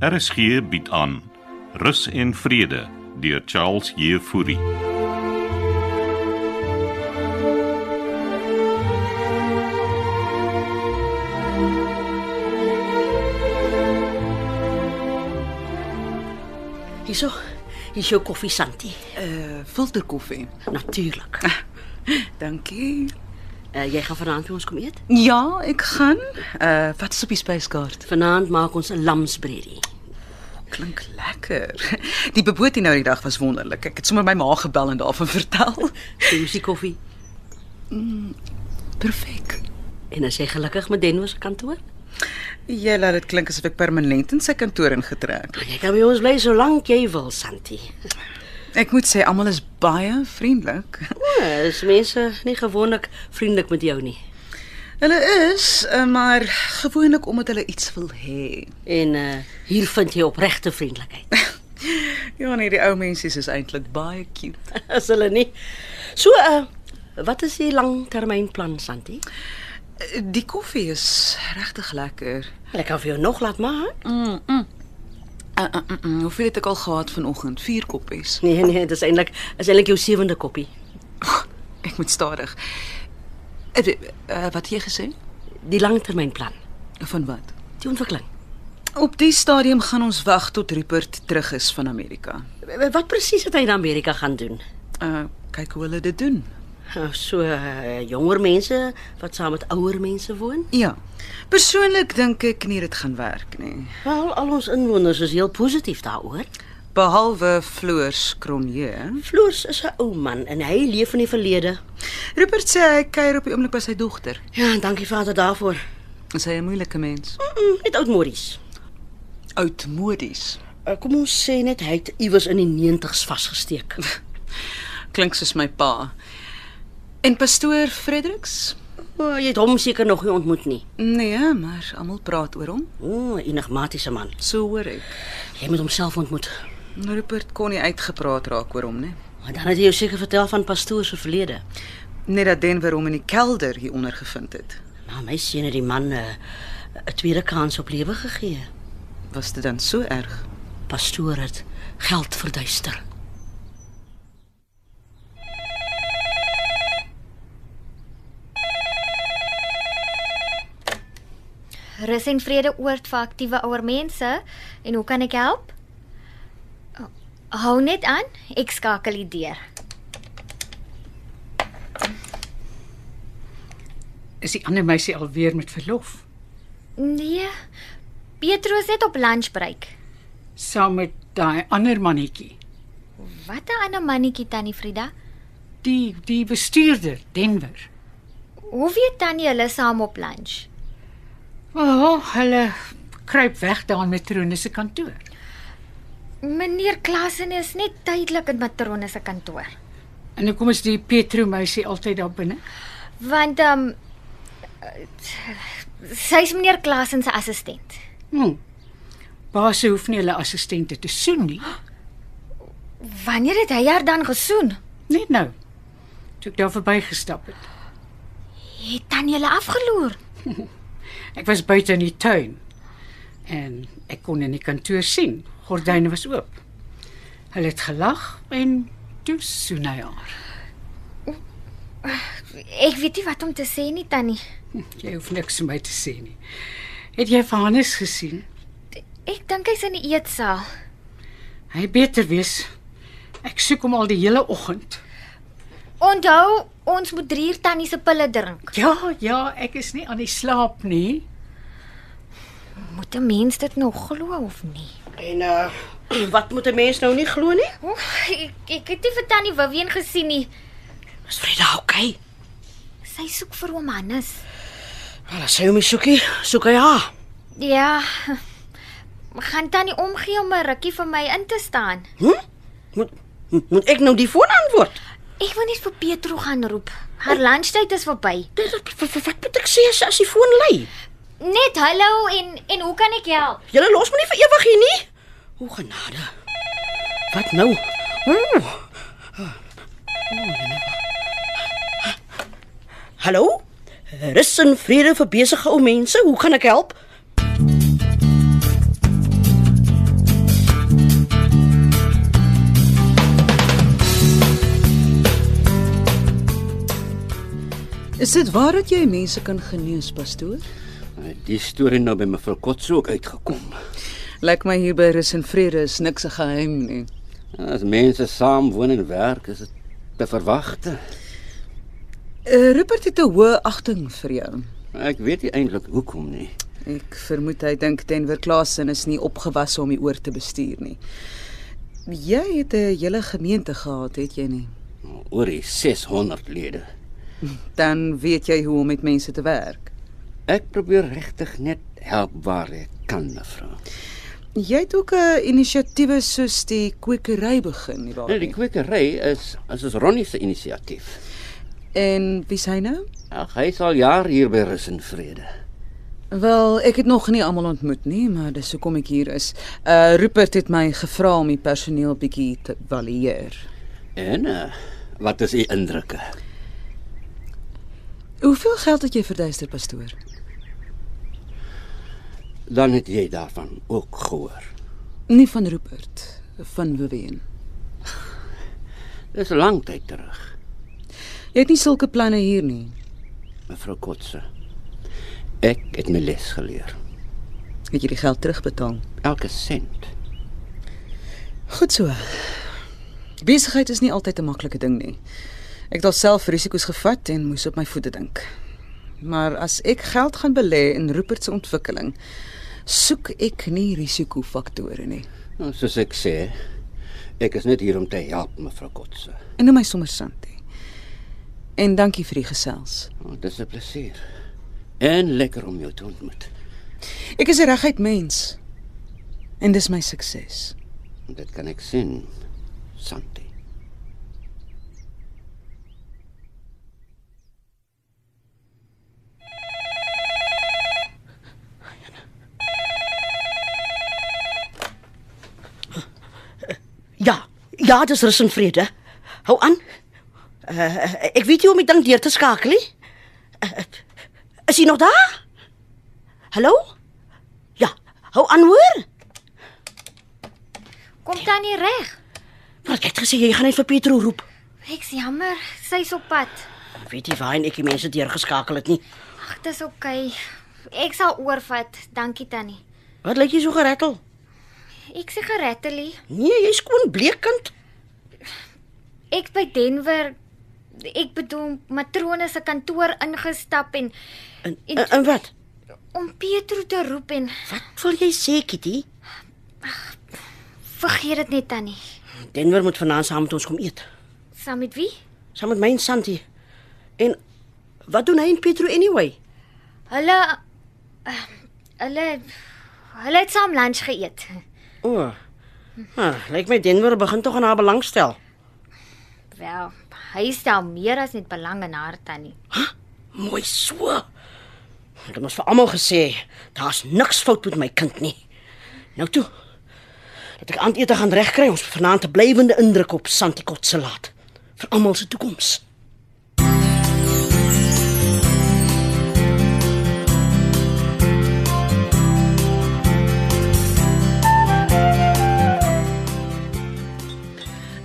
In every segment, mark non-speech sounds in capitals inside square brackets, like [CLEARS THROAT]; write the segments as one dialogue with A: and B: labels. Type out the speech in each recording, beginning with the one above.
A: RSG bied aan Rus en Vrede deur Charles Jefouri.
B: Hierso, hier is jou koffie Santi.
C: Eh, filterkoffie.
B: Natuurlik.
C: Dankie.
B: Uh, jy gaan vanaand by ons kom eet?
C: Ja, ek gaan. Eh, wat is op die spyskaart?
B: Vanaand maak ons 'n lamsbredie.
C: Klink lekker. [LAUGHS] Die beboetie nou die dag was wonderlik. Ek het sommer my ma gebel en daarvan [LAUGHS] vertel.
B: Die musiekkoffie.
C: Perfek.
B: En as jy gelukkig met Denno se kantoor,
C: Jy laat dit klink asof ek permanent in sy kantoor ingetrek.
B: jy kan by ons bly solank jy wil, Santi.
C: Ek moet sê almal is baie vriendelik. [LAUGHS]
B: O, is mense nie gewoonlik vriendelik met jou nie.
C: Hulle is, eh, maar gewoonlik omdat hulle iets wil hê.
B: En uh hier vind jy opregte vriendelikheid. [LAUGHS]
C: Ja, nee, die ou mensies is eintlik baie cute.
B: As hulle nie. So uh wat is die langtermynplan, Santi?
C: Eh, Die koffie is regtig lekker.
B: Ek kan vir jou nog laat maak.
C: Mm. mm. Uh, uh, uh, uh, hoeveel het ek al gehad vanoggend? 4 koppies.
B: Nee nee, dis eintlik is eintlik jou sewende koppie.
C: Ek moet stadig. Eh, eh, eh, Wat het jy gesê?
B: Die langtermynplan,
C: Van wat?
B: die ontwikkeling.
C: Op die stadium gaan ons wag tot Rupert terug is van Amerika.
B: Wat presies het hy in Amerika gaan doen?
C: Uh kyk hoe hulle dit doen.
B: Nou, So eh, jonger mense wat saam met ouer mense woon.
C: Ja. Persoonlik dink ek nie dit gaan werk nie.
B: Wel, al ons inwoners is heel positief daaroor.
C: Behalwe Floors Cronje.
B: Floors is 'n ou man en hy leef in die verlede.
C: Rupert sê hy kuier op die oomblik by sy dogter.
B: Ja, en dankie Vader daarvoor.
C: Is hy 'n moeilike mens?
B: Mm, mm, Net oud Morries.
C: Oudmodies.
B: Eh, Kom ons sê net hy het iewers in die 90's vasgesteek. [LAUGHS]
C: Klink soos my pa. En pastoor Fredericks?
B: O, jy het hom seker nog nie ontmoet nie.
C: Nee, maar almal praat oor hom.
B: O, 'n enigmatiese man.
C: So hoor ek.
B: Jy moet homself ontmoet.
C: Rupert kon nie uitgepraat raak oor hom nie.
B: Maar dan het hy jou seker vertel van pastoor se verlede.
C: Net dat Denver hom in die kelder hieronder gevind het.
B: Maar my seun het die man 'n uh, 'n tweede kans op lewe gegee.
C: Was dit dan so erg?
B: Pastoor het geld verduister.
D: Rus en vrede oord vir aktiewe ouer mense en hoe kan ek help? Oh, Hou net aan, ek skakel die deur.
E: Is die ander meisie alweer met verlof?
D: Nee. Pietro is net op lunchbreek.
E: Saam met daai ander mannetjie.
D: Wat 'n ander mannetjie tannie Frida.
E: Die die bestuurder Denver.
D: Hoe weet tannie hulle is saam op lunch?
E: O, oh, hulle kruip weg daar in Matrone se kantoor.
D: Meneer Klasen is net tydelik in Matrone se kantoor.
E: En hoekom is die Petro meisie altyd daar binne?
D: Want ehm um, sy's meneer Klasen se assistent.
E: Hm. Baas hoef nie hulle assistente te soen nie.
D: Wanneer het hy haar dan gesoen?
E: Net nou. Toe ek daar verbygestap het.
D: Het tannie hulle afgeloer?
E: Ek was buite in die tuin en ek kon in die kantoor sien. Gordyne was oop. Hulle het gelag en toe soen hy haar.
D: Ek weet nie wat om te sê nie tannie.
E: Jy hoef niks vir my te sê nie. Het jy vir Hannes gesien?
D: Ek dink hy's in die eetsaal.
E: Hy beter wees. Ek soek hom al die hele oggend.
D: Onthou, ons moet drie tannie se pille drink.
E: Ja, ja, ek is nie aan die slaap nie.
D: Moet 'n mens dit nog glo of nie?
B: En uh [CLEARS THROAT] wat moet 'n mens nou nie glo nie?
D: O, ek ek het nie vir tannie Vivian gesien nie.
B: Is Frida okay?
D: Sy soek vir oom Hannes.
B: Wel, as Ah, sy hom nie soek nie, soek hy haar.
D: Ja. [LAUGHS] Gaan tannie omgee om 'n rukkie vir my in te staan.
B: Hm? Moet moet ek nou die foon antwoord?
D: Ek wil net vir Pietro gaan roep. Haar lunchtyd is verby.
B: Dit- dit- Wat wat- wat moet ek sê as as die foon lui?
D: Net hallo en en hoe kan ek help?
B: Julle los my nie vir ewig hier nie. O genade. Wat nou? nee, Ooh. Hallo? Rus en vrede vir besige ou mense. Hoe kan ek help?
C: Is dit waar dat jy mense kan genees, pastoor?
F: Die storie nou by mevrou Kotse ook uitgekom.
C: Lyk my hier by Rus en Vrede is niks 'n geheim nie.
F: As mense saam woon en werk, is dit te verwagte.
C: Uh, Rupert het 'n hoë agting vir jou.
F: Ek weet nie eintlik hoekom nie.
C: Ek vermoed hy dink Denver Klasen is nie opgewasse om die oor te bestuur nie. Jy het 'n hele gemeente gehad, het jy nie?
F: Oor die 600 lede.
C: Dan weet jy hoe om met mense te werk.
F: Ek probeer regtig net help waar ek kan, mevrou.
C: Jy het ook 'n inisiatiewe soos die kwekery begin, nie waar
F: Nou, die
C: nie?
F: kwekery is as is Ronnie se inisiatief.
C: En wie sien nou?
F: Ag, hy is al jaar hier by Rus en Vrede.
C: Wel, ek het nog nie almal ontmoet nie, maar dis hoekom ek hier is. Uh Rupert het my gevra om die personeel bietjie te evalueer.
F: En uh, wat is u indrukke?
C: Hoeveel geld het jy verduister, pastoor?
F: Dan het jy daarvan ook gehoor.
C: Nie van Rupert, van Weween.
F: Dis lank tyd terug,
C: Jy het nie sulke planne hier nie.
F: mevrou Kotse. Ek het my les geleer.
C: Het jy die geld terugbetaal?
F: Elke sent.
C: Goed so. Besigheid is nie altyd 'n maklike ding nie. Ek het alself risiko's gevat en moes op my voete dink. Maar as ek geld gaan belê in Rupert se ontwikkeling, soek ek nie risikofaktore nie.
F: Nou, soos ek sê, ek is net hier om te help, mevrou Kotse.
C: En noem my sommer Santi. En dankie vir die gesels.
F: Nou, dis 'n plesier. En lekker om jou te ontmoet.
C: Ek is 'n reguit mens. En dis my sukses.
F: Dit kan ek sien, Santi.
B: Ja, ja, dis rus en vrede. Hou aan. Uh, ek weet jy om die ding deur te skakel. nie. Uh, is jy nog daar? Hallo? Ja, hou aan hoor.
D: Kom tannie reg.
B: Maar ek het gesê jy gaan net vir Pietro roep.
D: Ek's jammer, sy's op pad.
B: Ek weet nie waarheen ek die mense deurgeskakel het nie.
D: Ag, dis oukei. Okay. Ek sal oorvat. Dankie tannie.
B: Wat lyk jy so gerattel?
D: Ek se gerettelie.
B: Nee, jy's skoon bleekkind.
D: Ek by Denver ek bedoel matrone se kantoor ingestap en
B: En,
D: En-
B: Eh, en, en wat?
D: om Pietro te roep en
B: Wat wil jy sê, Kitty?
D: vergeet dit net tannie.
B: Denver moet vanaand saam met ons kom eet.
D: Saam met wie?
B: Saam met my en Santi. En wat doen hy en Pietro anyway?
D: Hulle eh, hulle hulle het saam lunch geëet.
B: O. Oh. Ah, lyk my Denver begin tog aan haar belangstel.
D: Wel, hy stel meer as net belang in haar tannie.
B: Mooi so. Ek het mos vir almal gesê, daar's niks fout met my kind nie. Nou toe. Dat ek aandete gaan regkry, ons moet vanaand 'n blywende indruk op Santi Kotse laat vir almal se toekoms.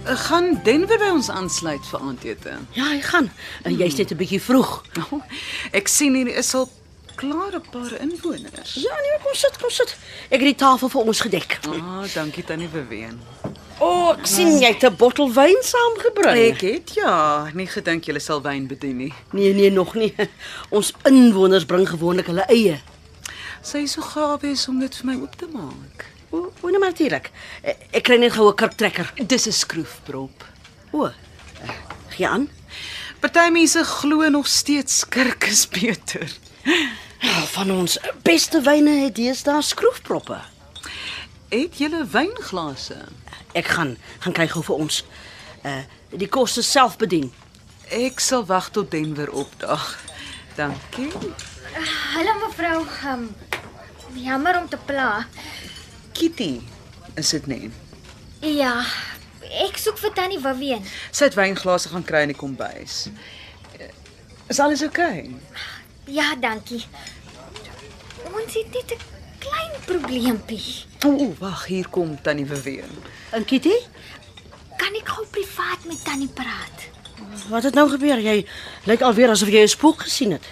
C: Ek Eh, gaan Denver by ons aansluit vir aandete.
B: Ja, hy gaan. En jy's net 'n bietjie vroeg.
C: Oh, ek sien hier is al klaar 'n paar inwoners.
B: Ja, nee, kom sit, kom sit. Ek het die tafel vir ons gedek.
C: Ah, oh, dankie tannie Beween.
B: O, oh, ek sien jy het 'n bottel wyn saamgebring.
C: Ek het ja, nie gedink jy sal wyn bedien nie.
B: Nee, nee, nog nie. [LAUGHS] Ons inwoners bring gewoonlik hulle eie.
C: Sy is so gaaf wees om dit vir my oop te maak.
B: O, o nee, natuurlik. Ek- Ek kry net gou 'n kurktrekker.
C: Dis 'n skroefprop.
B: O. eh, Gee aan.
C: Party mense glo nog steeds kerk is beter.
B: Ja, Van ons beste wyne het deesdae skroefproppe.
C: Het julle wynglase?
B: Ek gaan gaan kry gou vir ons. Uh die kos is self bedien.
C: Ek sal wag tot Denver opdag. Dankie.
D: Hallo mevrou. Um, jammer om te pla.
C: Kitty, is dit nie?
D: Ja, ek soek vir tannie Waween.
C: Sy het wynglase gaan kry in die kombuis. Eh, Is alles oukei? Okay?
D: Ja, dankie. Ons het net 'n klein probleempie.
C: O, oh, wag, hier kom tannie Weween.
B: En Kitty?
D: Kan ek gou privaat met tannie praat?
B: Wat het nou gebeur? Jy lyk alweer asof jy 'n spook gesien het.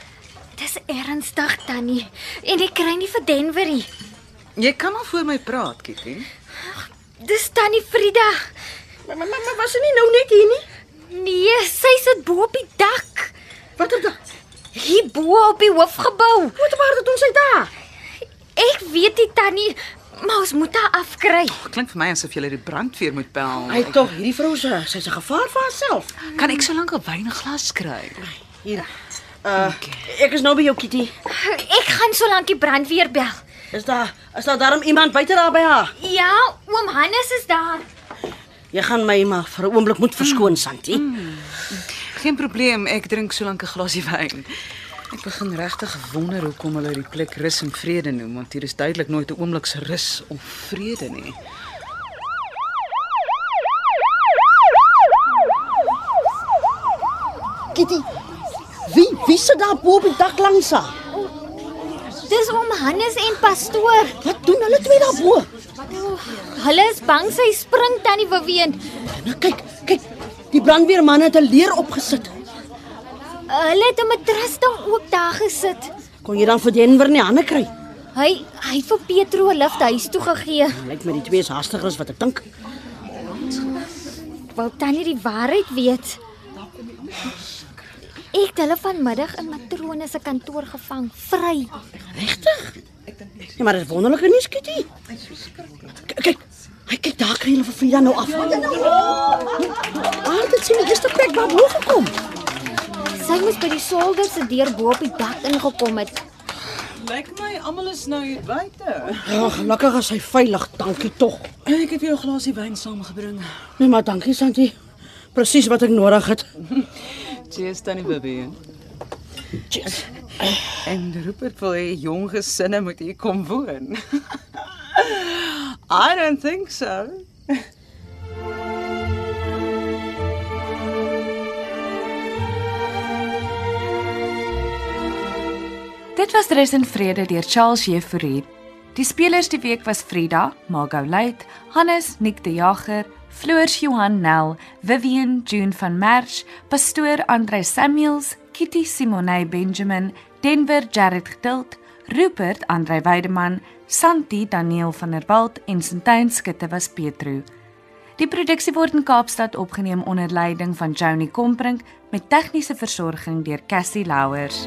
D: Dis ernstig tannie en ek kry nie vir Denver nie.
C: Jy kan maar voor my praat, Kitty.
D: Dis tannie Frida.
B: Maar maar, maar, maar was sy nie nou net hier nie?
D: Nee, sy sit bo op die dak.
B: Wat het dan?
D: Hier bo op die hoofgebou.
B: Wat waar het ons uit daar?
D: Ek weet die tannie, maar ons moet haar afkry.
C: Klink vir my asof jy die brandweer moet bel.
B: Hy tog, hierdie vrou se, sy's 'n gevaar vir haarself.
C: Kan ek so lank 'n wynglas kry?
B: Hier. Uh, ek is nou by jou Kitty.
D: Ek gaan so lank die brandweer bel.
B: Is daar is daar darm iemand buite daar by haar?
D: Ja, oom Hannes is daar.
B: Jy gaan my maar vir 'n oomblik moet verskoon, Santi.
C: Geen probleem, ek drink so lank 'n glasie wyn. Ek begin regtig wonder hoekom hulle die plek rus en vrede noem, want hier is duidelik nooit 'n oomblik se rus of vrede nie.
B: Kitty. Wie wie sit daar bo op die dak langs haar?
D: Dis oom Hannes en pastoor.
B: Wat doen hulle twee daar bo?
D: Hulle is bang sy spring tannie Weween.
B: Nou kyk, kyk. Die brandweerman het 'n leer opgesit.
D: Hulle het 'n matras dan ook daar gesit.
B: Kon jy dan vir Denver nie hande kry?
D: Hy hy het vir Petro 'n lift huis toe gegee.
B: Lyk my die twee is haastiger as wat ek dink.
D: Wil tannie die waarheid weet? Ek het hulle vanmiddag in matrone se kantoor gevang, vry.
B: Ja, maar dit is wonderlike nuus, Kitty. K- Kyk, hy kyk daar kry hulle vir Frida nou af. Maar dit sien die eerste plek waar hoog gekom.
D: Sy moes by die solder se deur bo op die dak ingekom het.
C: Lyk my almal is nou hier buite.
B: Ja, gelukkig is hy veilig, dankie tog.
C: Ek het jou glasie wyn saamgebring.
B: Nee, maar dankie Santi. Presies wat ek nodig het.
C: Cheers tannie Bibi.
B: Cheers.
C: Eh, En Rupert wil hê jong gesinne moet hier kom woon. [LAUGHS] I don't think so.
G: Dit was Rus en Vrede deur Charles Jefouri. Die spelers die week was Frida, Margot Luit, Hannes, Nick de Jager, Floors Johan Nel, Vivian June van Merch, pastoor Andre Samuels, Kitty Simone Benjamin, Denver Jared Geduld, Rupert Andre Weideman, Santi Daniel van der Walt en Sintyn Skutte was Petro. Die produksie word in Kaapstad opgeneem onder leiding van Johnny Combrink met tegniese versorging deur Cassie Louwers.